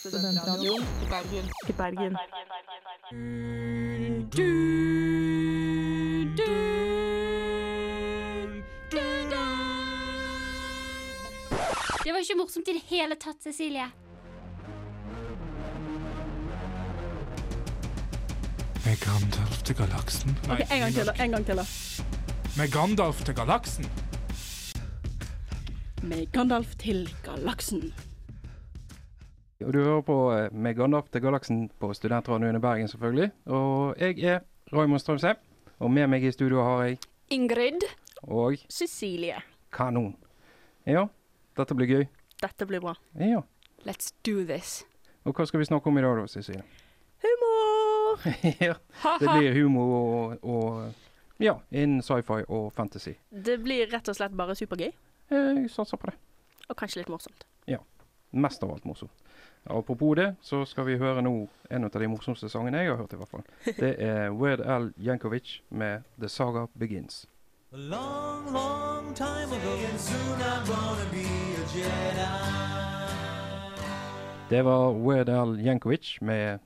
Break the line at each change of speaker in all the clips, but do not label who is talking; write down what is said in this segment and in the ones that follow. Studentradioen i Bergen. I Bergen.
Det var ikke morsomt i det hele tatt, Cecilie.
Med Gandalf til galaksen. Nei,
Ok, en gang til, da. En gang til, da.
Med Gandalf til galaksen.
Med Gandalf til galaksen.
Og du hører på eh, med Gandalf til Galaksen på Studentradioen i Bergen, selvfølgelig. Og jeg er Raymond Strømsheim, og med meg i studio har jeg
Ingrid.
og
Cecilie.
kanon. Ja, dette blir gøy.
Dette blir bra.
Ja.
Let's do this.
Og hva skal vi snakke om i dag da, Cecilie?
Humor!
ja, det
Ha-ha.
blir humor og, og ja, innen sci-fi og fantasy.
Det blir rett og slett bare supergøy,
Jeg satser på det.
og kanskje litt morsomt.
Mest av alt morsomt. Apropos det, så skal vi høre nå en av de morsomste sangene jeg har hørt i hvert fall. Det er Weird Al Jankovic med The Saga Begins.
A long, long time ago, and soon I'm gonna be a Jedi.
Det var Weird Al Jankovic med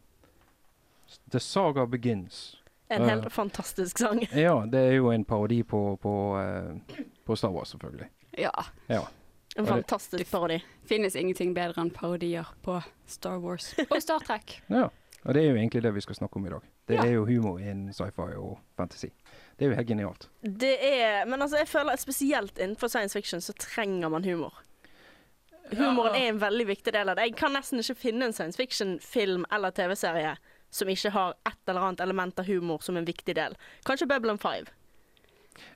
The Saga Begins.
En helt
Ja.
fantastisk sang.
Ja, det er jo en parodi på, på, eh, på Star Wars, selvfølgelig.
Ja.
Ja.
En
Ja, det-
fantastisk parodi.
Finnes ingenting bedre enn parodier på Star Wars og Star Trek.
ja. Og det er jo egentlig det vi skal snakke om i dag. Det
Ja.
er jo humor innen sci-fi og fantasy. Det er jo helt genialt.
Det er Men altså, jeg føler at spesielt innenfor science fiction så trenger man humor. Humoren er en veldig viktig del av det. Jeg kan nesten ikke finne en science fiction-film eller TV-serie som ikke har et eller annet element av humor som en viktig del. Kanskje Babylon 5.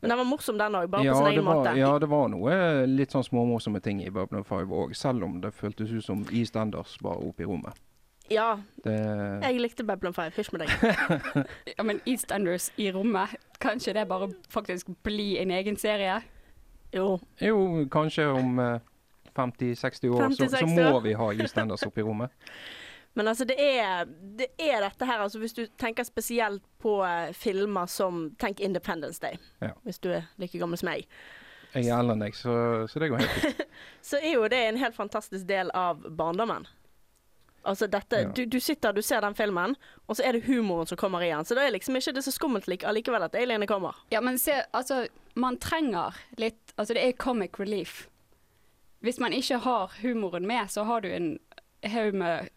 Men den var morsom, den òg, bare på sin
det
egen
var,
måte.
ja, det var noe litt sånn småmorsomme ting i Babylon 5 òg, selv om det føltes ut som EastEnders bare oppe i rommet.
ja,
Det,
jeg likte Babylon 5. Hysj med deg.
Ja, men EastEnders i rommet, kan ikke det bare faktisk bli en egen serie?
Jo.
jo, kanskje om eh, 50-60 år, så, så
50-60
må
år.
vi ha EastEnders oppe i rommet.
Men altså, det er, det er dette her altså, Hvis du tenker spesielt på eh, filmer som Tenk Independence Day,
Ja.
hvis du er like gammel som meg,
Jeg er eldre enn deg, så, så det går helt fint.
så er jo det en helt fantastisk del av barndommen. Altså dette,
Ja.
du, du sitter du ser den filmen, og så er det humoren som kommer i den. Så da er liksom ikke det så skummelt lik- allikevel at alienene kommer.
Ja, men se, altså, man trenger litt Altså, det er comic relief. Hvis man ikke har humoren med, så har du en haug med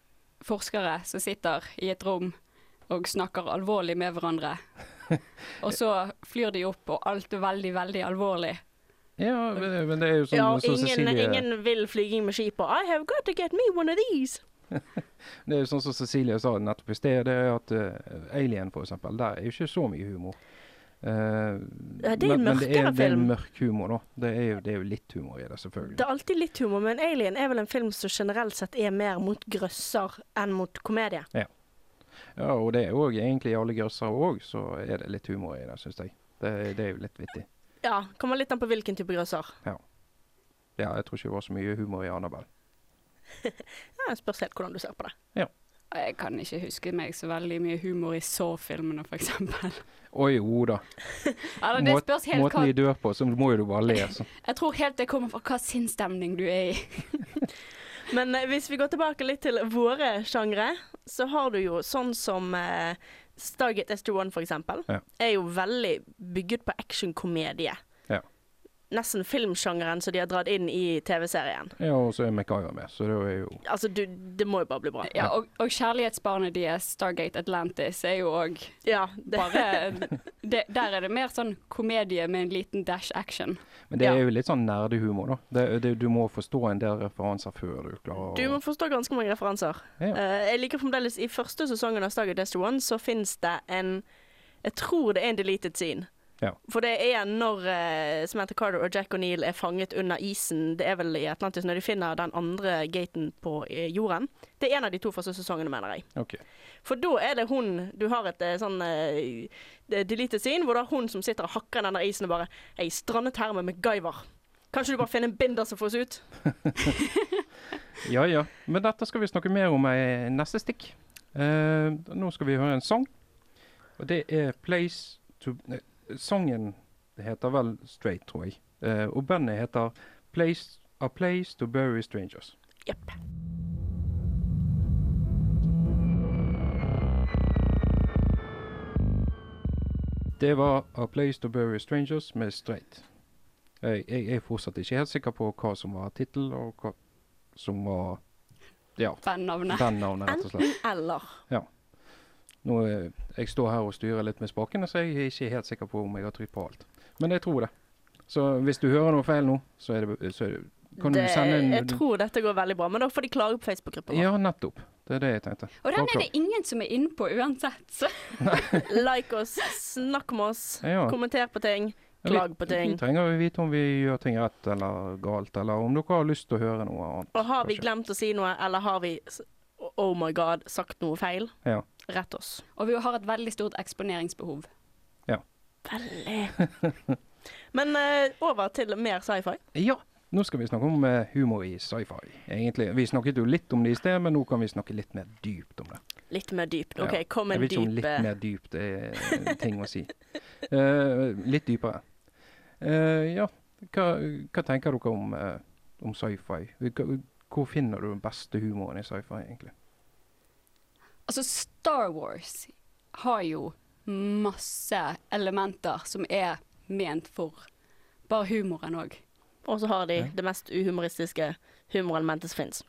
forskere som sitter i et rom og snakker alvorlig med hverandre. Og så flyr de opp, og alt er veldig, veldig alvorlig.
Ja, men, men det er jo sånn
ja,
som
og ingen,
Cecilie
ingen vil flyging med skip og I have got to get me one of these.
Det er jo sånn som Cecilie sa nettopp i sted, det er at eh, Alien for eksempel, der er jo ikke så mye humor. Eh,
Ja, det er en
men, men det er
mørkere
en del
film.
mørk humor, da. Det er, jo, det er jo litt humor i det, selvfølgelig.
Det er alltid litt humor, men Alien er vel en film som generelt sett er mer mot grøsser enn mot komedie.
Ja, og det er jo egentlig i alle grøssere òg, så er det litt humor i det, syns jeg. Det, det er jo litt vittig.
Ja, kommer litt an på hvilken type grøsser.
Ja, jeg tror ikke det var så mye humor i Annabelle.
Ja, det spørs helt hvordan du ser på det.
Og Jeg kan ikke huske meg så veldig mye humor i Saw-filmene, f.eks.
Å jo da.
Eller det
Måt-
spørs helt hva
Måten de dør på, så må jo du bare le. Så.
Jeg tror helt det kommer fra hva sinnsstemning du er i.
Men eh, hvis vi går tilbake litt til våre sjangre, så har du jo sånn som eh, Stargate SG1 for eksempel,
Ja.
er jo veldig bygget på actionkomedie.
Ja.
Nesten filmsjangeren som de har dratt inn i TV-serien.
Ja, og så er MacGyver med, så det er jo
Altså, du, det må jo bare bli bra.
Ja, og, og kjærlighetsbarnet deres, Stargate Atlantis, er jo òg
Ja, det,
bare det, Der er det mer sånn komedie med en liten dash action.
Men det
Ja.
er jo litt sånn nerdehumor, da. Det, det, du må forstå en del referanser før du klarer å
du må forstå ganske mange referanser.
Ja.
Eh, jeg liker fremdeles, i første sesongen av Stargate SG1 så finnes det en, jeg tror det er en deleted scene.
Ja.
For det er når eh, Samantha Carter og Jack O'Neill er fanget under isen, det er vel i Atlantis, når de finner den andre gaten på eh, jorden. Det er en av de to første sesongene, mener jeg.
Ok.
For da er det hun Du har et eh, sånn eh, det- deleted scene hvor det er hun som sitter og hakker den der isen og bare Jeg strandet her med MacGyver. Kanskje du bare finner en binder som får oss ut?
Ja ja. Men dette skal vi snakke mer om i neste stikk. Eh, nå skal vi høre en sang. Og det er 'Place to nei, Sangen heter vel Straight, tror jeg. Eh, og bandet heter place, 'A Place to Bury Strangers'.
Jepp.
Det var A Place to Bury Strangers med Straight. Jeg, jeg er fortsatt ikke helt sikker på hva som var tittel, og hva som var Ja,
Bandnavnet.
bandnavnet, rett og slett.
Eller
Nå, eh, jeg står her og styrer litt med spakene, så jeg er ikke helt sikker på om jeg har trykt på alt. Men jeg tror det. Så hvis du hører noe feil nå, så, er det, så er det, kan
det,
du sende en
Jeg tror dette går veldig bra, men da får de klage på Facebook-gruppa. vår.
Ja, nettopp. Det er det jeg tenkte.
Og den
Bra
er det ingen som er inne på uansett. Så
Like oss, snakk med oss,
Ja.
kommenter på ting,
Ja,
klag på
Vi
ting.
trenger jo vite om vi gjør ting rett eller galt, eller om dere har lyst til å høre noe annet.
Og har vi
kanskje.
glemt å si noe, eller har vi s- oh my god, sagt noe feil,
Ja.
rett oss.
Og vi har et veldig stort eksponeringsbehov.
Veldig. Men eh, over til mer sci-fi.
Ja, nå skal vi snakke om eh, humor i sci-fi, egentlig. Vi snakket jo litt om det i sted, men nå kan vi snakke litt mer dypt om det.
Litt mer dypt. OK,
Ja.
kom
Jeg
en
vet ikke om
dyp
litt
eh,
mer dypt er en ting å si. Eh, litt dypere. Eh, ja, hva, hva tenker dere om, eh, om sci-fi? Hva- Hvor finner du den beste humoren i sci-fi, egentlig?
Altså, Star Wars har jo masse elementer som er ment for bare humoren òg.
Og så har de
Ja.
det mest uhumoristiske humorelementet som fins.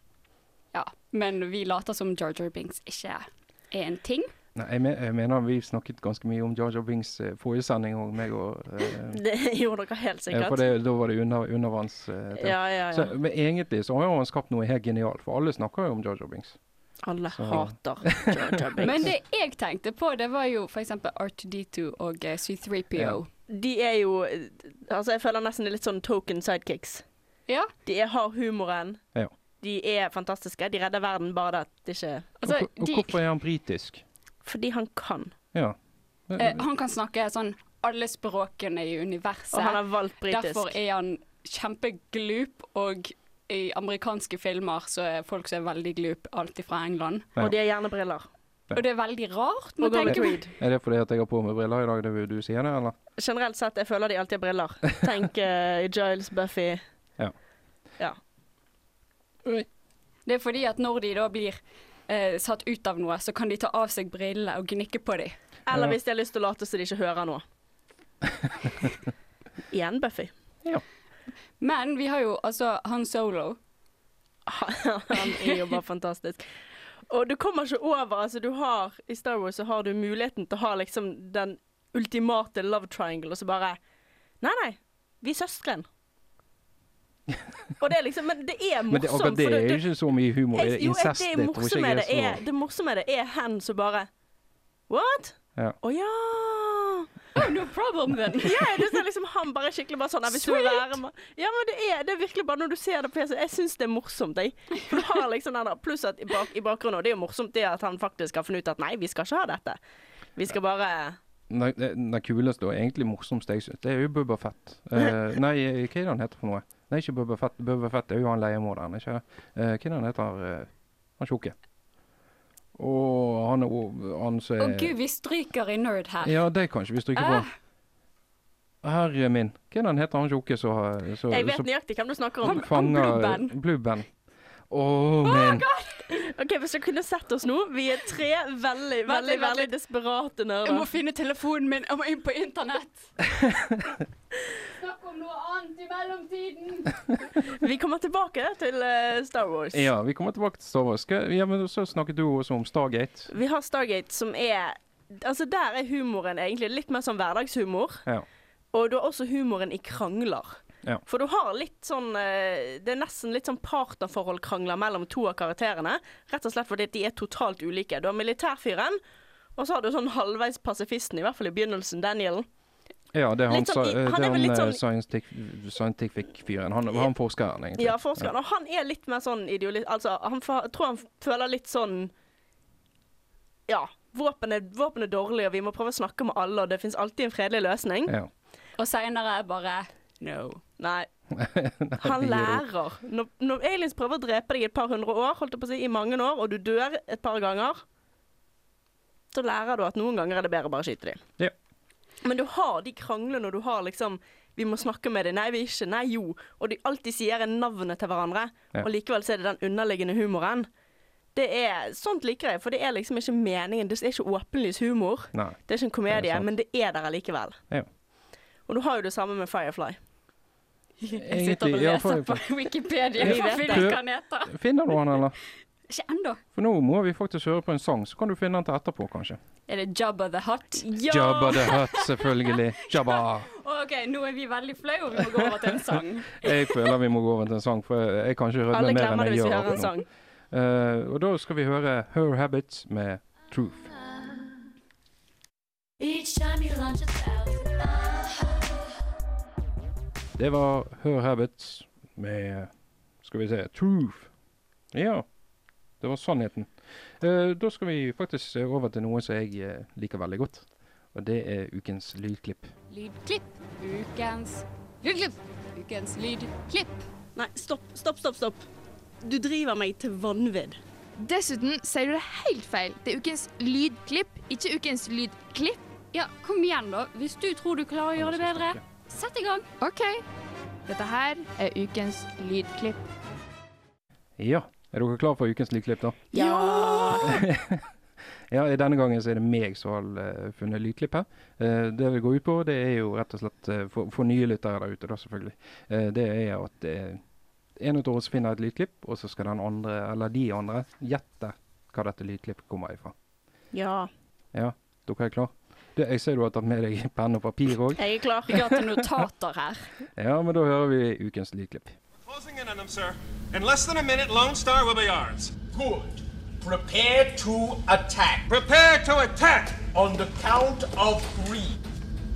Ja, men vi later som Jarger Binks ikke er en ting.
Nei, jeg, me jeg mener vi snakket ganske mye om Jar Jar Bings eh, forrige sending òg, meg og eh,
Det gjorde dere helt
Ja,
sikkert.
for det, da var det under, undervanns... eh, ting.
Ja, ja, ja.
Så, men egentlig så har jo han skapt noe helt genialt, for alle snakker jo om Jar Jar Binks.
Alle
så-
hater Jar Jar Binks.
Men det jeg tenkte på, det var jo f.eks. R2D2 og eh, C3PO.
De er jo Altså, jeg føler nesten de er litt sånn token sidekicks.
Ja.
De er, har humoren.
Ja.
De er fantastiske. De redder verden, bare det at det ikke
Og,
Altså,
hvor- og
de,
hvorfor er han britisk?
Fordi han kan.
Ja.
eh, han kan snakke sånn alle språkene i universet.
Og han har valgt britisk.
Derfor er han kjempeglup, og i amerikanske filmer så er folk som er veldig glup, alltid fra England.
Ja.
Og de har gjerne briller.
Og det er veldig rart. men
Og
tenk-
Golden Creed.
Er det fordi at jeg har på meg briller i dag, det vil du si det, eller?
Generelt sett, jeg føler de alltid har briller. Tenk eh, Giles, Buffy
Det er fordi at når de da blir eh, satt ut av noe, så kan de ta av seg brillene og gnikke på dem.
Eller
Ja.
hvis de har lyst til å late som de ikke hører noe. Igjen Buffy.
Men vi har jo altså han solo.
Han er jo bare fantastisk. Og du kommer ikke over altså du har, I Star Wars så har du muligheten til å ha liksom den ultimate love triangle, og så bare Nei, nei, vi er søsken. Og det er liksom, men det er morsomt.
Men det, akkurat det
for
er jo ikke så mye humor. i
jeg-
det
jo, jeg-
incest,
det
det tror ikke
morsomme
jeg
det
er
er,
så
det morsomme det er hen som bare What? Å
Ja.
ja.
Oh, no problem then!
Ja, det er liksom han bare er skikkelig bare sånn «Nei, hvis du vil være med. Ja, men det er, det er virkelig bare når du ser det på PC, jeg syns det er morsomt, jeg. For du har liksom den der, pluss at i, bak, i bakgrunnen, og det er jo morsomt det at han faktisk har funnet ut at nei, vi skal ikke ha dette. Vi skal bare
Nei, Det det kuleste og egentlig morsomste jeg syns, det er jo Bubba Fett. Eh, nei, eh, hva er det han heter for noe? Nei, ikke Bubba Fett. Bubba Fett er jo han leiemorderen, ikke det? Eh, hva er det han heter? eh, han tjukke. Og han er jo han som
Å
er
gud, vi stryker i nerd her.
Ja, det kan ikke vi stryke på.
Ah.
Herre min. Hva er det han heter, han tjukke som
Jeg vet nøyaktig hvem du snakker om.
Han- Blue Band.
Blubben. Å, min.
OK, hvis dere kunne sett oss nå. Vi er tre veldig,
Vent
veldig
litt, vent
veldig
litt.
desperate
Jeg må
nerder.
finne telefonen min, jeg må inn på internett. Snakk om noe annet i mellomtiden.
Vi kommer tilbake til eh, Star Wars.
Ja, vi kommer tilbake til Star Wars. Skal- Ja, men så snakket du også om Stargate.
Vi har Stargate, som er Altså, der er humoren egentlig litt mer sånn hverdagshumor.
Ja.
Og du har også humoren i krangler.
Ja.
For du har litt sånn eh, Det er nesten litt sånn partnerforhold-krangler mellom to av karakterene. Rett og slett fordi at de er totalt ulike. Du har militærfyren, og så har du sånn halvveis pasifisten, i hvert fall i begynnelsen, Daniel.
Ja, det er han,
Litt sånn i-
sa- eh,
han er
det er
vel litt
han,
sånn-
eh, scientific- scientific-fyren. Han, han forskeren, egentlig.
Ja, forskeren. Og han er litt mer sånn ideolist... Altså, han fa- jeg tror han føler litt sånn Ja. Våpen er, våpen er dårlig, og vi må prøve å snakke med alle, og det fins alltid en fredelig løsning.
Ja.
Og seinere bare no.
Nei.
Nei,
Han
det gir det opp.
lærer. Når, når aliens prøver å drepe deg i et par hundre år, holdt jeg på å si, i mange år, og du dør et par ganger, så lærer du at noen ganger er det bedre å bare skyte dem.
Ja.
Men du har de kranglene, og du har liksom Vi må snakke med dem. Nei, vi ikke. Nei, jo. Og de alltid sier navnet til hverandre,
Ja.
og likevel så er det den underliggende humoren. Det er, sånt liker jeg, for det er liksom ikke meningen. Det er ikke åpenlys humor.
Nei.
Det er ikke en komedie,
Det er sant.
men det er der allikevel.
Ja.
Og du har jo det samme med Firefly.
Jeg sitter og
ja,
leser
for-
på Wikipedia
Jeg
hva
vet
det.
filmen heter.
Finner du han, eller?
Ikke ennå.
For nå må vi faktisk høre på en sang, så kan du finne den til etterpå, kanskje.
Er det Jabba the Hutt?
Ja!
Jabba the Hutt, selvfølgelig. Jabba.
OK, nå er vi veldig flaue, og vi må gå over til en sang.
Jeg føler vi må gå over til en sang, for jeg jeg kan ikke rødme
Alle
mer enn
glemmer det
jeg
hvis
gjør
vi hører en
akkurat nå.
sang.
Eh, og da skal vi høre Her Habits med Truth.
Each time you launch us out.
Det var Her Habits med Skal vi se Truth. Ja. Det var sannheten. Eh, da skal vi faktisk eh, over til noe som jeg eh, liker veldig godt. Og det er ukens lydklipp.
Lydklipp. Ukens lydklipp. Ukens lydklipp.
Nei, stopp, stopp, stopp. stopp. Du driver meg til vanvidd.
Dessuten sier du det helt feil. Det er ukens lydklipp, ikke ukens lydklipp.
Ja, kom igjen, da. Hvis du tror du klarer å gjøre det bedre, sett i gang.
OK. Dette her er ukens lydklipp.
Ja. Er dere klar for ukens lydklipp, da?
Ja!
Ja, i Denne gangen så er det meg som har eh, funnet lydklipp her. Eh, det det går ut på, det er jo rett og slett eh, for, for nye lyttere der ute, da selvfølgelig. Eh, det er at eh, en av oss finner et lydklipp, og så skal den andre, eller de andre gjette hva dette lydklippet kommer ifra.
Ja,
Ja, dere er klar? Du, jeg ser du har tatt med deg penn og papir òg.
jeg er klar.
Vi går til notater her.
Ja, men da hører vi ukens lydklipp.
Closing in on them, sir. In less than a minute, Lone Star will be ours.
Good. Prepare to attack.
Prepare to attack!
On the count of three.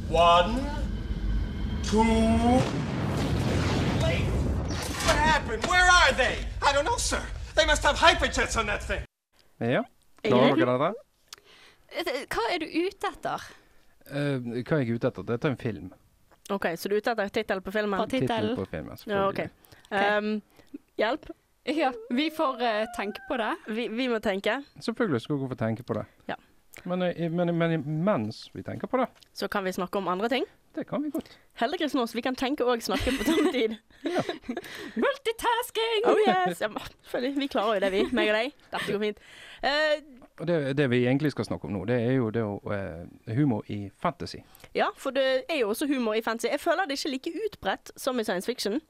One, two.
Late! What happened? Where are they? I don't know, sir. They must have hyperjets on that thing.
Ja, klarer dere dette?
Eh,
Hva er du ute etter?
Eh, hva er jeg ute etter? Dette er en film.
OK, så du er ute etter tittelen på filmen?
Tittelen
Tittel.
på filmen.
Ja, OK.
selvfølgelig.
Um, hjelp.
Ja, vi får eh, tenke på det.
Vi, vi må tenke.
Selvfølgelig skal dere få tenke på det.
Ja.
Men, eh, men, men mens vi tenker på det,
Så kan vi snakke om andre ting.
det kan vi godt.
Helle Kristin Aas, vi kan tenke og snakke på samme tid.
Multitasking!
Oh yes! Ja, men selvfølgelig. Vi klarer jo det, vi. Meg og deg. Dette går fint. Eh,
Og det, det vi egentlig skal snakke om nå, det er jo det å eh, humor i fantasy.
ja, for det er jo også humor i fantasy. Jeg føler det ikke er like utbredt som i science fiction.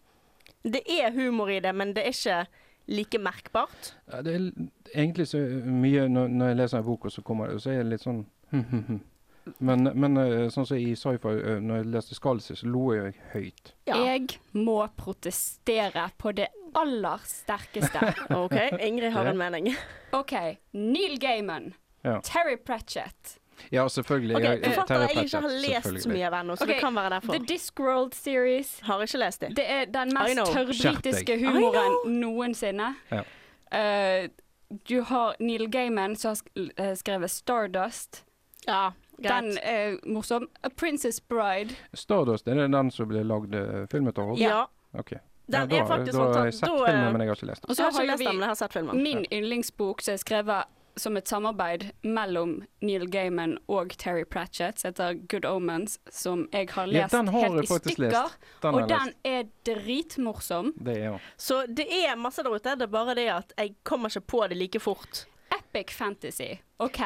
Det er humor i det, men det er ikke like merkbart.
Ja, Det er l- egentlig så eh, mye når, når jeg leser en bok, og så kommer det, så er det litt sånn Men, men eh, sånn som i sci-fi, eh, når jeg leste Skalsis, så lo jeg høyt.
Ja.
Jeg må protestere på det aller sterkeste.
Ah, OK, Ingrid har en mening.
OK, Neil Gaiman.
Ja.
Terry Pratchett.
Ja, selvfølgelig.
Ok,
jeg-
Forfattere
Terry
jeg ikke
Pratchett,
har lest så
selvfølgelig.
mye av ennå, så
Ok,
det kan være
The
derfor.
Discworld Series.
Har ikke lest det.
Det er den
I
mest
know.
Skjerp
tørrbritiske
deg.
humoren noensinne.
Ja.
Eh, du har Neil Gaiman som har sk- eh, skrevet Stardust.
Ja, greit.
Den er morsom. A Princess Bride.
Stardust, er det den som ble lagd eh, filmet over?
ja.
Ok.
Den
ja,
er
da-
faktisk
Da
sånn
har
at-
jeg sett
da, eh,
filmen, men jeg har ikke lest den.
Og
Jeg
så
har ikke
har
lest den, men
vi Mm.
jeg har sett filmen.
min yndlingsbok som er skrevet som et samarbeid mellom Neil Gaiman og Terry Pratchett, som heter Good Omens, som jeg har
Ja,
lest
den har
helt
jeg
i
faktisk
stykker.
lest. Den har
og
jeg
den
lest.
er dritmorsom.
Det er jo
Så det er masse der ute, det er bare det at jeg kommer ikke på det like fort.
Epic fantasy. OK,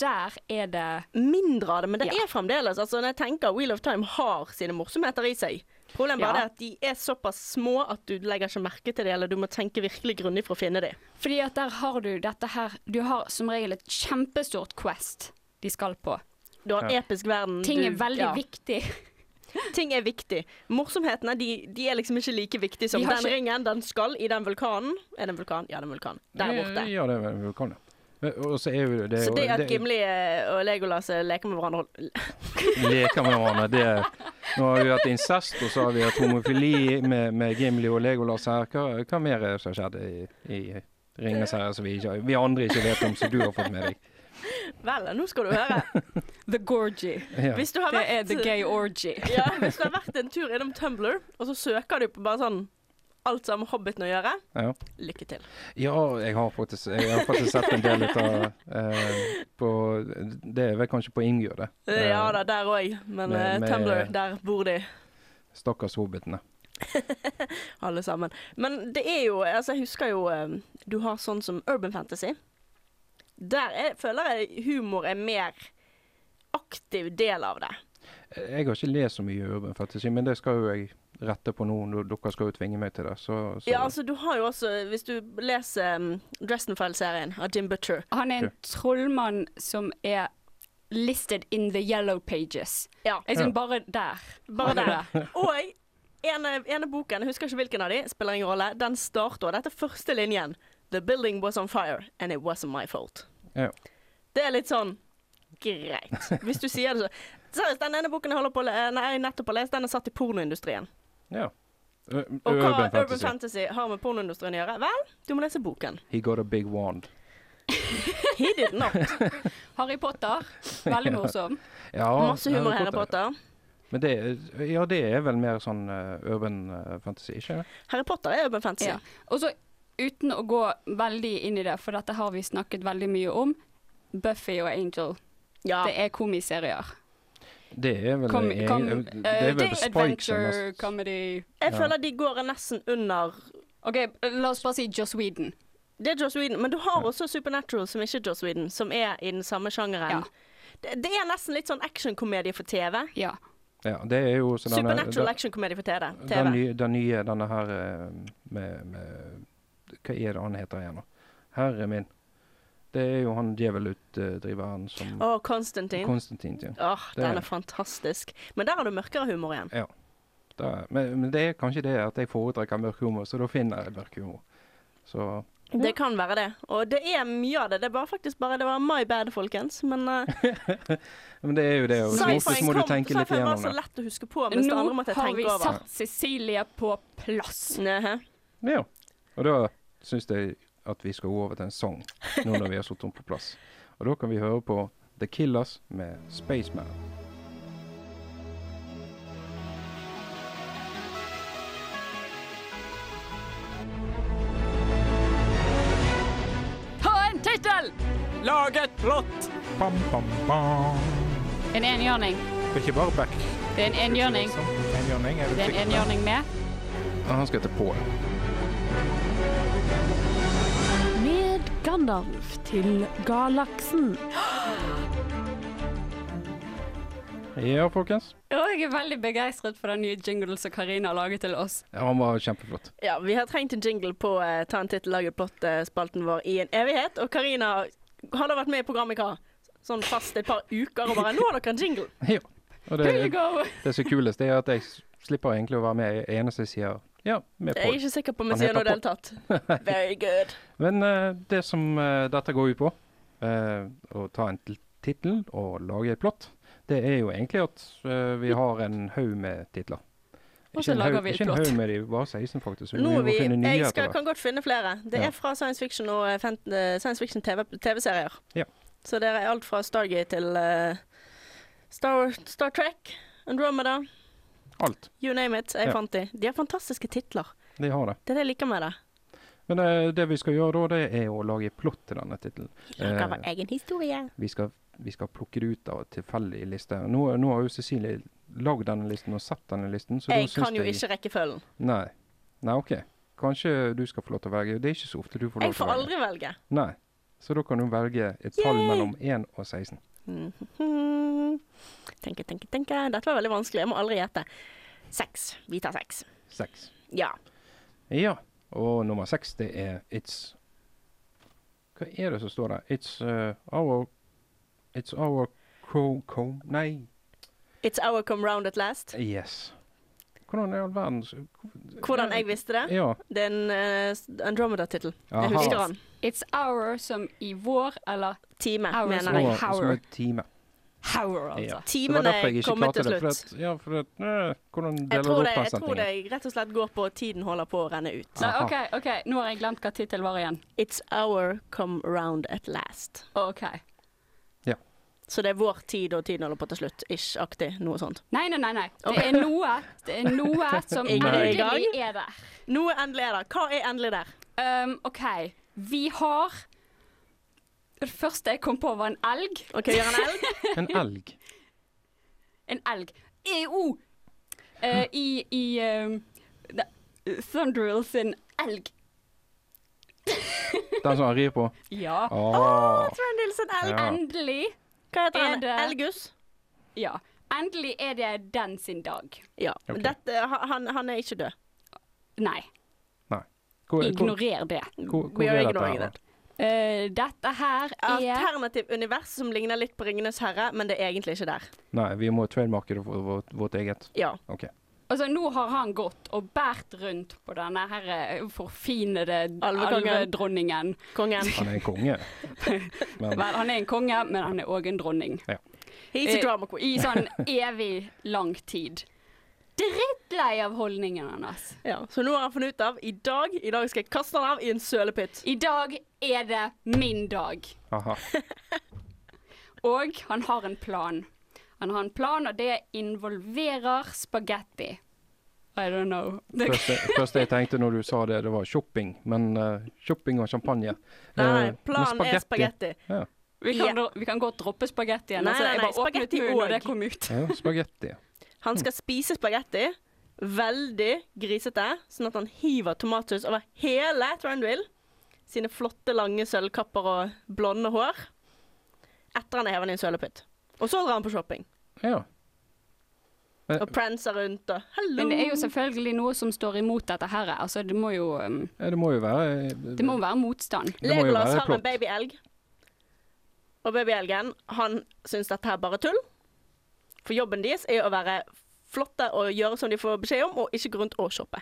der er det
Mindre av det, men det
Ja.
er fremdeles. Altså, når jeg tenker Wheel of Time har sine morsomheter i seg. Problemet
Ja.
bare er at de er såpass små at du legger ikke merke til det, eller du må tenke virkelig grundig for å finne det.
Fordi at der har du dette her Du har som regel et kjempestort quest de skal på.
Du har en
Ja.
episk verden.
Ting
Mm, du,
er veldig
ja.
viktig.
Ting er viktig. Morsomhetene de, de er liksom ikke like viktige som
De
den
har ikke-
ringen den skal i den vulkanen. Er det en vulkan? Ja, det er en vulkan. Der borte.
Ja, det er en vulkan, ja. Men- Og så er jo Mm. det,
Så
jo-
det at Gimli eh, og Legolas eh, leker med hverandre
leker med hverandre. Det, nå har vi hatt incest, og så har vi hatt homofili med, med Gimli og Legolas her. Hva, hva mer er det som har skjedd i, i Ringenes herre som vi, ikke, vi andre ikke vet om, som du har fått med deg?
Vel, nå skal du høre.
The Gorgy.
Ja.
Hvis du har
Det er
vært,
The Gay Orgy.
ja, hvis du har vært en tur innom Tumblr, og så søker du på bare sånn alt som har med Hobbiten å gjøre,
Ja.
lykke til.
ja, jeg har faktisk, jeg har faktisk sett en del ut av eh, på, Det er vel kanskje på Ingjør, det.
Eh, Ja da, der òg, men
med-
eh,
med-
Tumblr, der bor de.
Stakkars hobbitene.
Alle sammen. Men det er jo Altså, jeg husker jo eh, Du har sånn som urban fantasy. Der er, føler jeg humor er mer aktiv del av det.
Jeg har ikke lest så mye urban fantasy, men det skal jo jeg rette på nå. når Dere skal jo tvinge meg til det. Så, så.
Ja, altså, du har jo også Hvis du leser um, Dresdenfile-serien av Jim Butcher
Han er en trollmann som er listed in the yellow pages.
Ja.
Jeg synes
Ja.
bare der.
Bare der. Og ene, ene boken, jeg husker ikke hvilken av de, spiller ingen rolle, den starter Dette er første linjen. The building was on fire, and it wasn't my fault.
Ja.
Det er litt sånn greit. Hvis du sier det så. Seriøst, den ene boken jeg, holder på, å le- eh, nei, jeg nettopp har lest, den er satt i pornoindustrien.
ja. Ø-
Og hva
Urban
Urban
fantasy.
Fantasy har med pornoindustrien å gjøre? Vel, du må lese boken.
He got a big wand.
He did not.
Harry Potter. Veldig
Ja.
morsom.
Ja,
Masse humor i Harry Potter.
Men det, er- ja, det er vel mer sånn eh, urban eh, fantasy, ikke det?
Harry Potter er urban fantasy.
Ja. Og så uten å gå veldig inn i det, for dette har vi snakket veldig mye om, Buffy og Angel. Det er komiserier.
Det er vel
Kom,
egen-
kom,
det
eh,
er vel Spike som
adventure,
har-
comedy
Jeg
Ja.
føler de går nesten under
OK, la oss bare si Joss Whedon.
Det er Joss Whedon, men du har også Supernatural, som ikke er Joss Whedon, som er i den samme sjangeren.
Ja.
Det, det er nesten litt sånn actionkomedie for TV.
Ja.
Ja, det er jo så denne-
Supernatural
den-
actionkomedie for TV.
Den nye, den nye, denne her eh, med, med Hva er det han heter igjen, da? Herre min. Det er jo han djevelutdriveren som
Å, Konstantin.
Konstantin. Ja.
Åh,
Det er
den
det.
er fantastisk. Men der har du mørkere humor igjen.
ja. Da, men, men det er kanskje det at jeg foretrekker mørk humor, så da finner jeg mørk humor. Så
Det kan være det. Og det er mye av det. Det var faktisk bare Det var my bad, folkens. Men uh,
Men det er jo det, og så ofte så må du tenke litt
sci-fi var
igjennom
så
det.
lett å huske på, mens det
Nå
andre måtte jeg
har vi
tenke over.
satt Cecilie på plass.
Nehe.
Ja. Og da syns jeg at vi skal gå over til en sang, nå når vi har satt den på plass. Og da kan vi høre på The Killers med Spaceman.
Ha en tittel!
Lag et plott! Bam, bam, bam.
En enhjørning.
Det er ikke bare back.
Det er en enhjørning.
Enhjørning er
Det er en enhjørning med.
Og han skal hete Paul.
Med Gandalf til galaksen.
Ja, folkens.
Og jeg er veldig begeistret for den nye jinglen som Karina har laget til oss.
Ja, han var kjempeflott.
Ja, vi har trengt en jingle på eh, Ta en titt, lag et plott-spalten vår i en evighet. Og Karina har da vært med i programmet hva? Sånn fast et par uker og bare 'Nå har dere en jingle'.
Ja. Og det,
Here you go.
det som er kulest, det er at jeg s- slipper egentlig å være med i eneste jeg sier ja, med
Jeg er
Paul.
ikke sikker på om jeg
Han
sier noe i det hele
heter
tatt. Very good.
Men eh, det som eh, dette går ut på, eh, å ta en til- tittel og lage et plott, det er jo egentlig at eh, vi har en haug med titler.
Og så
en haug-
lager vi et
ikke en
plott.
haug med de, bare 16 faktisk. så
Nå
vi
er
må
vi
finne nye
Jeg
etter
skal,
hvert.
kan godt finne flere. Det
Ja.
er fra science fiction og eh, fan- eh, science fiction TV TV-serier.
Ja.
Så det er alt fra Stargate til eh, Star, Star Trek, Andromeda,
Alt.
you name it. Jeg
Ja.
fant de. De har fantastiske titler.
De har det.
Det er det jeg liker med det.
Men eh, det vi skal gjøre da, det er å lage et plott til denne tittelen.
Lager
Eh,
vår egen historie.
vi skal, vi skal plukke det ut av en tilfeldig liste. Nå, nå har jo Cecilie lagd denne listen og sett denne listen. Så
Jeg
da syns
kan jo
jeg-
ikke rekkefølgen.
Nei. Nei, OK. Kanskje du skal få lov til å velge. Det er ikke så ofte du får lov
Jeg
til
får
å velge.
aldri velge.
Nei. Så da kan du velge et tall
Yay!
mellom 1 og 16.
Mhm. Tenke, tenke, tenke. Dette var veldig vanskelig. Jeg må aldri gjette. Seks. Vi tar seks.
6.
Ja.
Ja. Og nummer 6, det er It's Hva er det som står der? It's uh, our It's our crow... co- Nei.
It's our come round at last.
Yes. Hvordan i all verden så-
Hvordan jeg visste det?
Ja.
Det er en eh, Andromeda-tittel. Jeg
Aha.
husker den.
It's our som i vår, eller
Time,
Hours.
mener jeg.
Over, som
Howard.
et time.
Hour,
Ja.
altså.
Det var
Timene
derfor jeg ikke
kommer
klarte
til
det. For
slutt.
at, ja, for at, øh, hvordan
Jeg
deler du
tror, det,
opp den
jeg tror det
setningen?
rett og slett går på tiden holder på å renne ut.
Nei,
Aha.
OK, ok, nå har jeg glemt hva tittelen var igjen.
It's our come round at last.
OK.
Så det er vår tid, og tiden holder på til slutt. Ish-aktig. Noe sånt.
Nei, nei, nei. nei. Det
Ok.
er noe, det er noe som
Ingen
er i
endelig er der.
Noe endelig er der. Hva er endelig der?
Um, OK, vi har Det første jeg kom på, var en elg.
OK, gjør en elg.
En elg.
En elg. EO! Eh, I i um, Thunderil sin elg.
Den som han rir på?
Ja.
Ah!
Åh.
Trendilsen
elg. Ja.
Endelig
Hva heter
er
han?
det-
Elgus?
Ja. Endelig er det den sin dag.
Ja.
Ok.
Dette, han, han er ikke død.
Nei,
Hvor, hvor,
ignorer det.
hvor, hvor
We are
er dette
ignoring
her? da?
that.
Eh, dette her er
Alternativ univers som ligner litt på Ringenes herre, men det er egentlig ikke der.
Nei, vi må trademarke det for vårt, vårt eget.
Ja.
OK.
Altså, nå har han gått og bært rundt på denne her eh, forfinede
Alvekongen.
alvedronningen.
Kongen.
Han er en konge. Men
Vel, han er en konge, men han er òg en dronning.
He's a
Eh,
drama queen.
I sånn evig lang tid. Drittlei av holdningen hans.
Ja. Så nå har han funnet ut av i dag I dag skal jeg kaste han av i en sølepytt.
I dag er det min dag.
aha.
Og han har en plan. Han har en plan, og det involverer spagetti. I don't know. Det,
Første, første jeg tenkte når du sa det, det var shopping. Men eh, shopping og champagne.
Nei,
Eh, men
planen er spagetti.
Ja,
vi, kan,
Ja.
dra- vi kan godt droppe spagettien.
Nei,
altså,
nei,
jeg
nei,
bare åpnet
spagetti
munnen, og
og-
det kom ut.
ja spagetti.
Han skal spise spagetti. Veldig grisete, sånn at han hiver tomatsaus over hele Trendwill. Sine flotte, lange sølvkapper og blonde hår. Etter han er hevet i en sølepytt. Og så drar han på shopping.
Ja. Eh,
Og prancer rundt og Hello!
Men det er jo selvfølgelig noe som står imot dette her. Altså, det må jo um,
ja, det må jo være eh,
Det må være motstand.
det må jo
Legolas
være
har en
plott.
babyelg. Og babyelgen, han syns dette her bare tull. For jobben deres er å være flotte og gjøre som de får beskjed om, og ikke gå rundt og shoppe.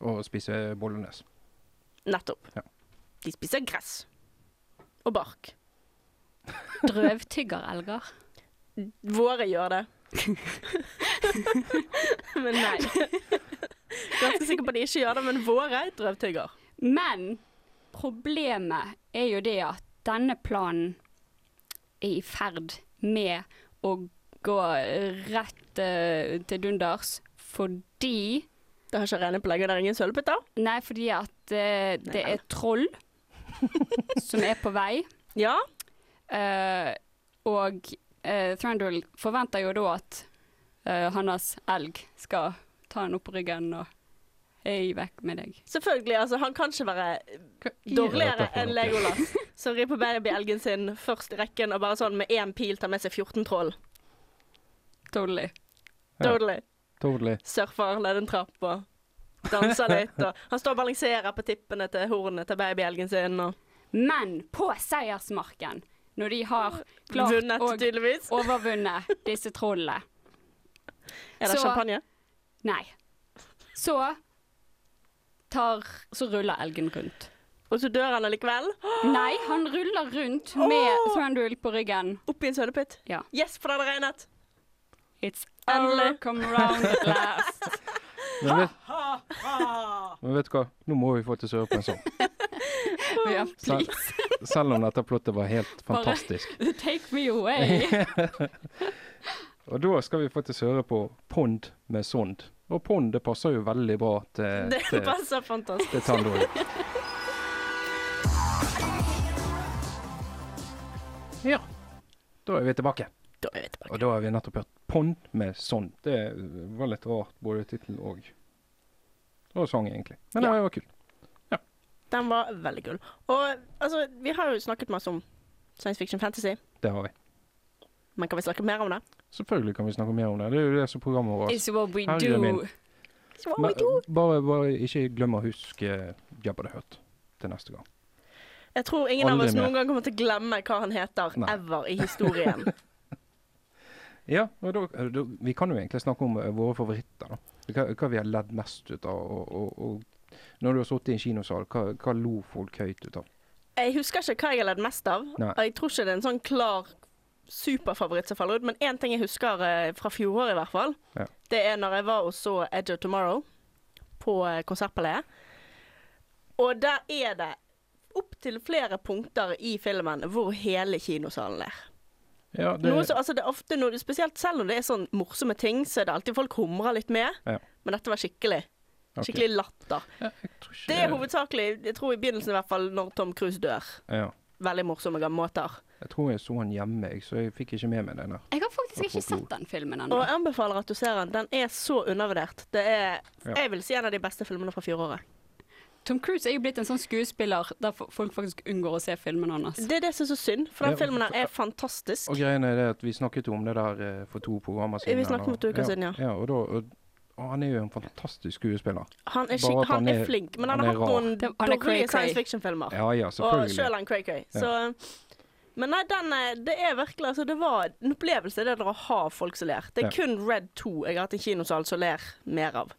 Å spise bollenes.
Nettopp.
Ja.
De spiser gress. Og bark.
Drøvtyggerelger.
Våre gjør det. men nei. Ganske sikker på at de ikke gjør det, men våre drøvtygger.
Men problemet er jo det at denne planen er i ferd med å gå rett eh, til dunders fordi
Det har ikke rene på legget, det er ingen sølvpytter.
Nei, fordi at eh, det
Nei.
er troll som er på vei.
Ja.
Eh, og uh, Thranduil forventer jo da at eh, hans elg skal ta han opp på ryggen og Hei, vekk med deg.
Selvfølgelig. altså Han kan ikke være
dette
dårligere
for
enn
noe?
Legolas, som rir på babyelgen sin først i rekken og bare sånn med én pil tar med seg 14 troll.
Totally.
Ja.
Totally.
Totally.
Surfer ned en trapp og danser litt. Og han står og balanserer på tippene til hornene til babyelgen sin og
Men på seiersmarken, når de har klart
vunnet,
å
tydeligvis.
overvunne disse trollene
Er det
så-
champagne?
Nei. Så tar Så ruller elgen rundt.
Og så dør han allikevel.
Nei, han ruller rundt med
Åh!
Thranduil på ryggen.
Oppi en sølepytt.
Ja.
Yes, for det hadde regnet.
It's
Endelig.
all come round at last.
Men vet, men vet du hva, nå må vi få til sør på en sånn.
Ja,
Sel-
please,
Selv om dette plottet var helt
Bare-
fantastisk.
take me away.
Og da skal vi få til søre på pond med sond. Og pond det passer jo veldig bra til,
Det
til,
passer fantastisk.
til Tandor. Ja. Da er vi tilbake.
Da er vi tilbake.
Og da har vi nettopp hørt Pond med Sånn. Det var litt rart, både tittel og og sang, egentlig. Men det var kult.
Den var veldig kul. Og altså, vi har jo snakket masse om science fiction fantasy,
Det har vi.
men kan vi snakke mer om det?
Selvfølgelig kan vi snakke mer om det. Det er jo det som programmet vårt
It's what we
Herre
do.
min. Men, eh, bare, bare ikke glem å huske Jabba the Hutt til neste gang.
Jeg tror ingen av
Aldri
oss
mer.
noen gang kommer til å glemme hva han heter
Nei.
ever i historien.
Ja, og da, eh, da, Vi kan jo egentlig snakke om eh, våre favoritter. da. Hva, hva vi har ledd mest ut av. Og, og, og når du har sittet i en kinosal, hva, hva lo folk høyt ut av?
Jeg husker ikke hva jeg har ledd mest av,
Nei.
og jeg tror ikke det er en sånn klar superfavoritt som faller ut, men én ting jeg husker eh, fra fjoråret i hvert fall,
Ja.
det er når jeg var og så Edge of Tomorrow på eh, Konsertpaleet. Og der er det opptil flere punkter i filmen hvor hele kinosalen ler.
Ja, det,
Noe som, altså det er ofte noe, spesielt Selv om det er sånn morsomme ting, så er det alltid folk humrer litt med.
Ja.
Men dette var skikkelig.
ok.
Skikkelig latter.
Ja, jeg tror ikke
Det er hovedsakelig, jeg tror i begynnelsen i hvert fall, når Tom Cruise dør.
Ja.
Veldig morsomme gamle måter.
Jeg tror jeg så han hjemme, jeg, så jeg fikk ikke med meg den der.
Jeg har faktisk ikke sett den filmen
Og
ennå.
jeg anbefaler at du ser den. Den er så undervurdert. Det er,
Ja.
jeg vil si, en av de beste filmene fra fjoråret.
Tom Cruise er jo blitt en sånn skuespiller der fo- folk faktisk unngår å se filmen hans.
Det er det som er så synd, for den
Ja,
filmen her er fantastisk.
Og greien er det at vi snakket jo om det der eh, for to programmer siden.
Vi snakket om
eller-
to uker siden, ja.
ja og, da, og, og han er jo en fantastisk skuespiller.
Han er,
Bare
skik-
at
han er flink, men han, har
rar.
hatt noen
Det- han er cray-cray.
dårlige science fiction-filmer.
Ja, ja,
og
selvfølgelig.
sjøl han cray-cray. Så Men nei, den er, det er virkelig altså, Det var en opplevelse, det der å ha folk som ler. Det er
Ja.
kun Red 2 jeg har hatt en kinosal som ler mer av.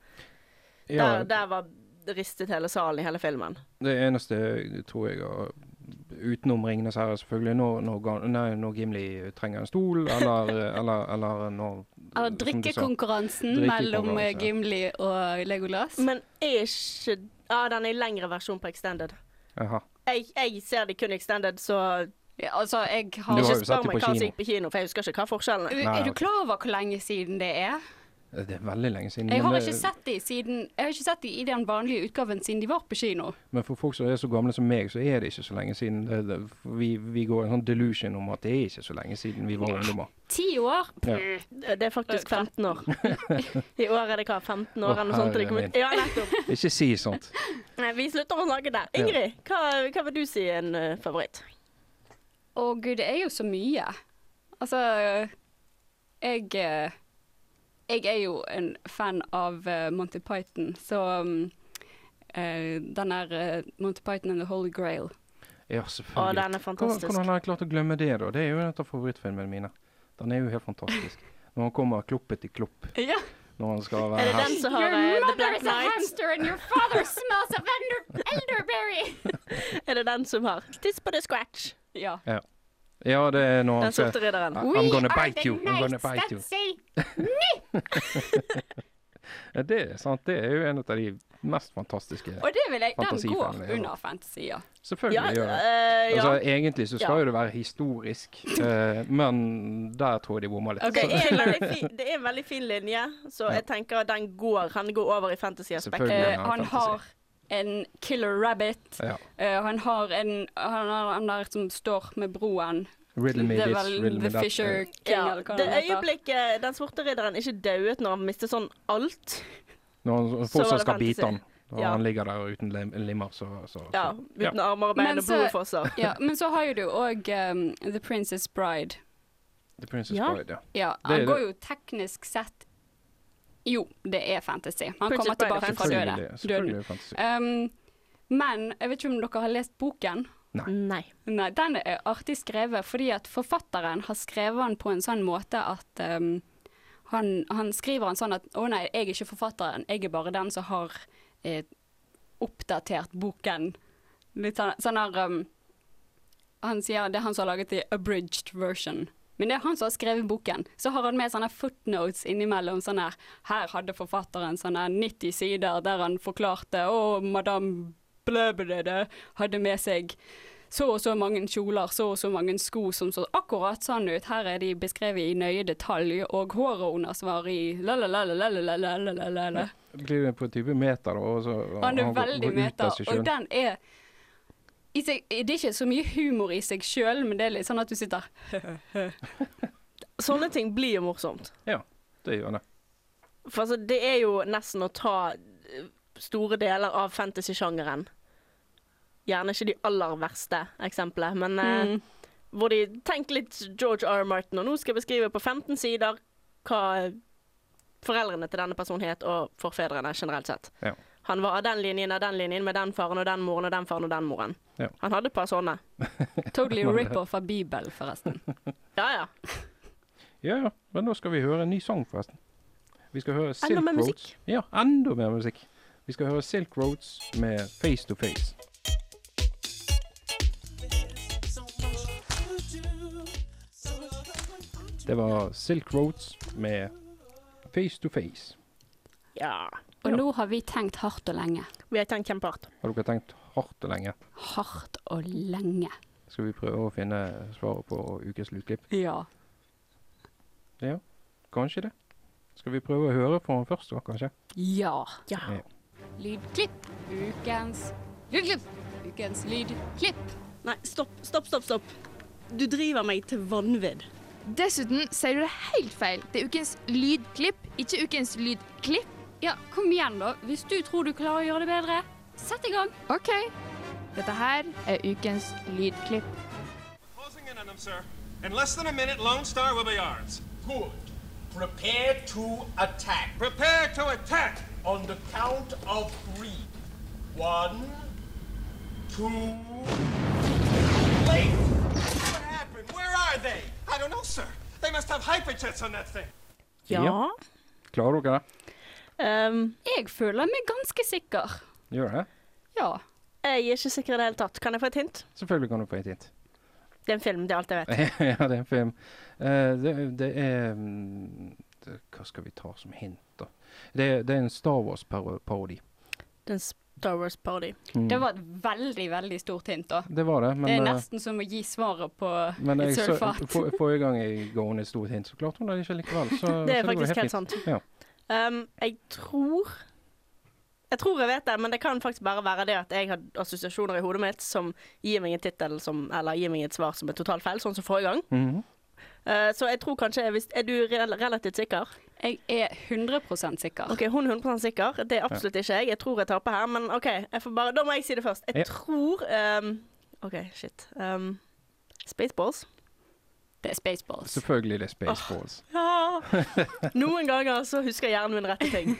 Der,
Ja.
der var det ristet hele salen i hele filmen.
Det eneste jeg tror jeg har Utenom Ringenes herre, selvfølgelig. Når, når, Ga- nei, når Gimli trenger en stol, eller, eller, eller når
Eller
som du sa.
drikkekonkurransen mellom eh,
Drikkekonkurranse.
Gimli og Legolas.
Men er ikke Ja, den er i lengre versjon på Extended.
Jaha.
Jeg, jeg ser det kun Extended, så
Altså, jeg
har- Du har jo
Ikke
sett
spør
det på
meg hva som
kino.
gikk på kino, for jeg husker ikke hva forskjellen
Er
er.
Nei,
er du
ok.
klar over hvor lenge siden det er?
Det er veldig lenge siden.
Jeg
men eh,
har
det-
ikke sett de siden Jeg har ikke sett de i den vanlige utgaven siden de var på kino.
Men for folk som er så gamle som meg, så er det ikke så lenge siden. Det, det, for vi, vi går i en sånn delusion om at det er ikke så lenge siden vi var ungdommer.
Ti år?
Ja.
Det er faktisk 15 år. I år er det hva, 15 år
Å,
eller noe sånt? til Det kom
herre
ut.
min.
Ja, nettopp.
Ikke si sånt.
Nei, vi slutter å snakke der.
Ja.
Ingrid, hva, hva vil du si er en eh, favoritt?
Å gud, det er jo så mye. Altså Jeg eh, Jeg er jo en fan av eh, Monty Python, så mm, eh, den der eh, Monty Python and the Holy Grail.
Ja, selvfølgelig.
Å, den er fantastisk.
Hvordan, hvordan har jeg klart å glemme det, da? Det er jo en av favorittfilmene mine. Den er jo helt fantastisk. Når han kommer kloppet i klopp.
Ja.
Når han skal
Er
være
det den
hest.
som har eh,
Your
The
mother
Black
is a
Knight?
hamster and your father smells of elder elderberry.
Er det den som har Tiss på the scratch?
Ja.
Ja. ja, det er når
Den
han skal
sorte ridderen.
I'm gonna
We are
bite you.
the
I'm gonna
knights
bite
that
you.
say
Ja, det er sant. Det er jo en av de mest fantastiske
Og det vil jeg, den går
fantasifilmene.
under fantasy, ja.
Selvfølgelig
Ja,
gjør det.
eh, ja.
Altså, egentlig så skal
Ja.
jo det være historisk, eh, men der tror jeg de bommer litt.
Ok, Det er, en veldig fin, det er en veldig fin linje, så jeg tenker at den går, han går over i
Selvfølgelig.
fantasy-aspektet.
Eh, han har en killer rabbit.
Ja.
Eh, han har en Han har han der som står med broen.
Riddle me
det er
this,
vel
riddle me
The
that. Eh,
Fisher King,
Ja,
eller hva
det
han heter.
øyeblikket den sorte ridderen ikke dauet når han mistet sånn alt,
Når han
Så var
fortsatt
det
skal bite han,
fantasy.
og
Ja.
han ligger der uten lim limmer, så, så, så.
ja, uten armer og bein
Men
og
så-
blodfosser.
ja, men så har jo du òg um, The Princess Bride.
The Princess
Ja.
Bride, ja.
Ja,
Det er
han
det.
går jo teknisk sett Jo, det er fantasy. Han
Princess
kommer
Bride er
tilbake fra
Selvfølgelig,
døde.
det- selvfølgelig er
døden.
det fantasy.
Um, men jeg vet ikke om dere har lest boken?
Nei.
Nei, den er artig skrevet fordi at forfatteren har skrevet den på en sånn måte at um, han, han skriver den sånn at å nei, jeg er ikke forfatteren, jeg er bare den som har eh, oppdatert boken. Litt sånn, sånn her um, Han sier det er han som har laget the abridged version. Men det er han som har skrevet boken. Så har han med sånne footnotes innimellom. sånn her, her hadde forfatteren sånne 90 sider der han forklarte å, madame Bløbedøde hadde med seg så og så mange kjoler, så og så mange sko som så akkurat sånn ut. Her er de beskrevet i nøye detalj, og håret hennes var i la-la-la-la-la-la-la-la-la.
Blir det på en type meter, da? Og så, og
Han er
går-
veldig
går ut
meta,
av seg
og
selv.
den er i seg, Det er ikke så mye humor i seg sjøl, men det er litt sånn at du sitter
Sånne ting blir jo morsomt.
Ja, det gjør det.
For altså, det er jo nesten å ta eh, store deler av fantasy-sjangeren. Gjerne ikke de aller verste eksemplene, men eh,
Mm.
hvor de Tenk litt George R. R. Martin, og nå skal jeg beskrive på 15 sider hva foreldrene til denne personen het, og forfedrene generelt sett.
Ja.
Han var av den linjen, av den linjen, med den faren og den moren og den faren og den moren.
Ja.
Han hadde et par sånne.
Totally rip-off av Bibelen, forresten.
Ja, ja.
ja, ja. Men nå skal vi høre en ny sang, forresten. Vi skal høre Silk
Enda mer musikk.
Roads. Ja, enda mer musikk. Vi skal høre Silk Roads med Face to Face. Det var Silk Roads med Face to Face.
ja.
Og nå har vi tenkt hardt og lenge.
Vi har tenkt kjempehardt.
Har dere tenkt hardt og lenge?
Hardt og lenge.
Skal vi prøve å finne svaret på ukes lydklipp?
Ja.
Ja, kanskje det. Skal vi prøve å høre på den først, da, kanskje?
Ja.
Ja.
Lydklipp. Ukens lydklipp. Ukens lydklipp.
Nei, stopp, stopp, stopp, stopp. Du driver meg til vanvidd.
Dessuten sier du det helt feil. Det er ukens lydklipp, ikke ukens lydklipp.
Ja, kom igjen, da. Hvis du tror du klarer å gjøre det bedre, sett i gang.
OK. Dette her er ukens lydklipp.
Closing in on them, sir. In less than a minute, Lone Star will be ours. Good. Prepare to attack. Prepare to attack! On the count of three. One, two.
Late? What happened? Where are they? I don't know, sir. They must have hyperjets on that thing.
Ja. Klarer dere det?
Ehm,
Jeg føler meg ganske sikker.
Gjør det?
Ja.
Jeg er ikke sikker i det hele tatt. Kan jeg få et hint?
Selvfølgelig kan du få et hint.
Det er en film, det er alt jeg vet.
ja, det er en film. Eh, det, det er mm, det, Hva skal vi ta som hint, da? Det, det er en Star Wars-parodi.
Det er en Star Wars-parody.
Mm.
Det var et veldig, veldig stort hint, da.
Det var det, men
det er
eh,
nesten som å gi svaret på
Men
et
jeg, så,
sølvfat.
for, forrige gang jeg ga henne et stort hint, så klarte hun det ikke likevel. Så, så
Det er
går
faktisk helt
fint.
sant.
Ja.
Um, jeg tror Jeg tror jeg vet det, men det kan faktisk bare være det at jeg har assosiasjoner i hodet mitt som gir meg en tittel som Eller gir meg et svar som er totalt feil, sånn som forrige gang.
Mhm.
Uh, så jeg tror kanskje hvis, Er du rel relativt sikker?
Jeg er 100 sikker.
OK, hun er 100 sikker. Det er absolutt ikke jeg. Jeg tror jeg taper her, men OK. Jeg får bare, da må jeg si det først. Jeg
Ja.
tror um, OK, shit. Um, Spaceballs.
Det er Spaceballs.
Selvfølgelig det er Spaceballs.
Ja. Noen ganger så husker hjernen min rette ting.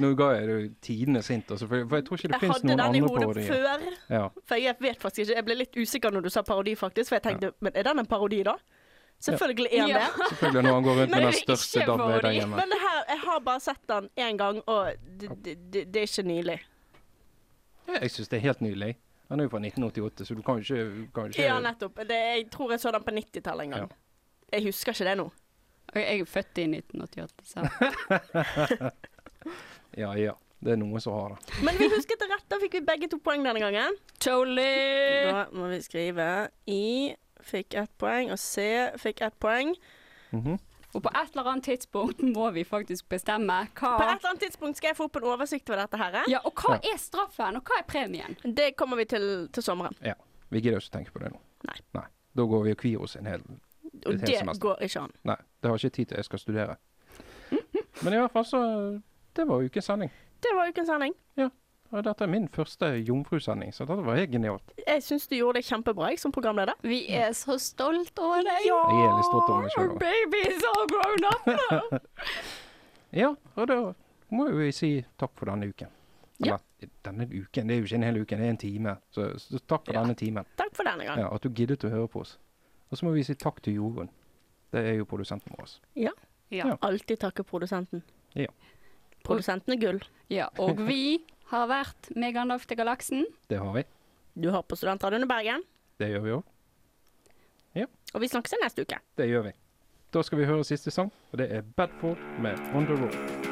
Nå ga jeg det tidenes hint, altså, for, for jeg tror ikke det
Jeg
finnes
hadde
noen
den i
andre
hodet
parodier.
før.
Ja.
For jeg vet faktisk ikke, jeg ble litt usikker når du sa parodi, faktisk. For jeg tenkte, men er den en parodi, da? Selvfølgelig er den
Ja.
det.
Selvfølgelig når han går
Men
rundt med den
det er
største
ikke
dabben der
parodi,
hjemme.
Men det her, jeg har bare sett den én gang, og det, det, det, det er ikke nylig.
Ja, Jeg syns det er helt nydelig. Han er jo fra 1988, så du kan jo ikke, du kan jo ikke
Ja, nettopp. Det, jeg tror jeg så den på 90-tallet en gang. Jeg husker ikke det nå.
Og jeg er født i 1988, så
Ja, ja. Det er noen som har det.
Men vi husket det rett, da fikk vi begge to poeng denne gangen.
Totally!
Da må vi skrive I fikk ett poeng, og C fikk ett poeng.
Mhm.
Og på et eller annet tidspunkt må vi faktisk bestemme hva
På et eller annet tidspunkt skal jeg få opp en oversikt over dette her. eh?
Ja, og hva er straffen, og hva er premien?
Det kommer vi til til sommeren.
Ja. Vi gidder ikke tenke på det nå.
Nei.
Da går vi og kvier oss en hel
Og
Et helt
det
semester.
går ikke an.
Nei, det har jeg ikke tid til. Jeg skal studere. Men i hvert fall så Det var ukens sending.
Det var ukens sending.
Og dette er min første jomfrusending, så dette var helt genialt.
Jeg syns du gjorde det kjempebra, jeg, som programleder.
Vi er så stolt over deg.
Jeg er litt stolt over meg sjøl.
Baby is all grown up.
Ja, og da må jo vi si takk for denne uken. Eller denne uken, det er jo ikke en hel uke, det er en time. Så, så takk for denne timen.
Takk for denne gang.
Ja, at du giddet å høre på oss. Og så må vi si takk til Jorunn. Det er jo produsenten vår.
Ja.
Ja.
Alltid takke produsenten.
Ja.
Produsenten er gull.
Ja, og vi har vært med Gandalf til galaksen.
Det har vi.
Du har på Studentradioen i Bergen,
Det gjør vi òg.
og vi snakkes igjen neste uke.
Det gjør vi. Da skal vi høre siste sang, og det er Bedford med On The Road.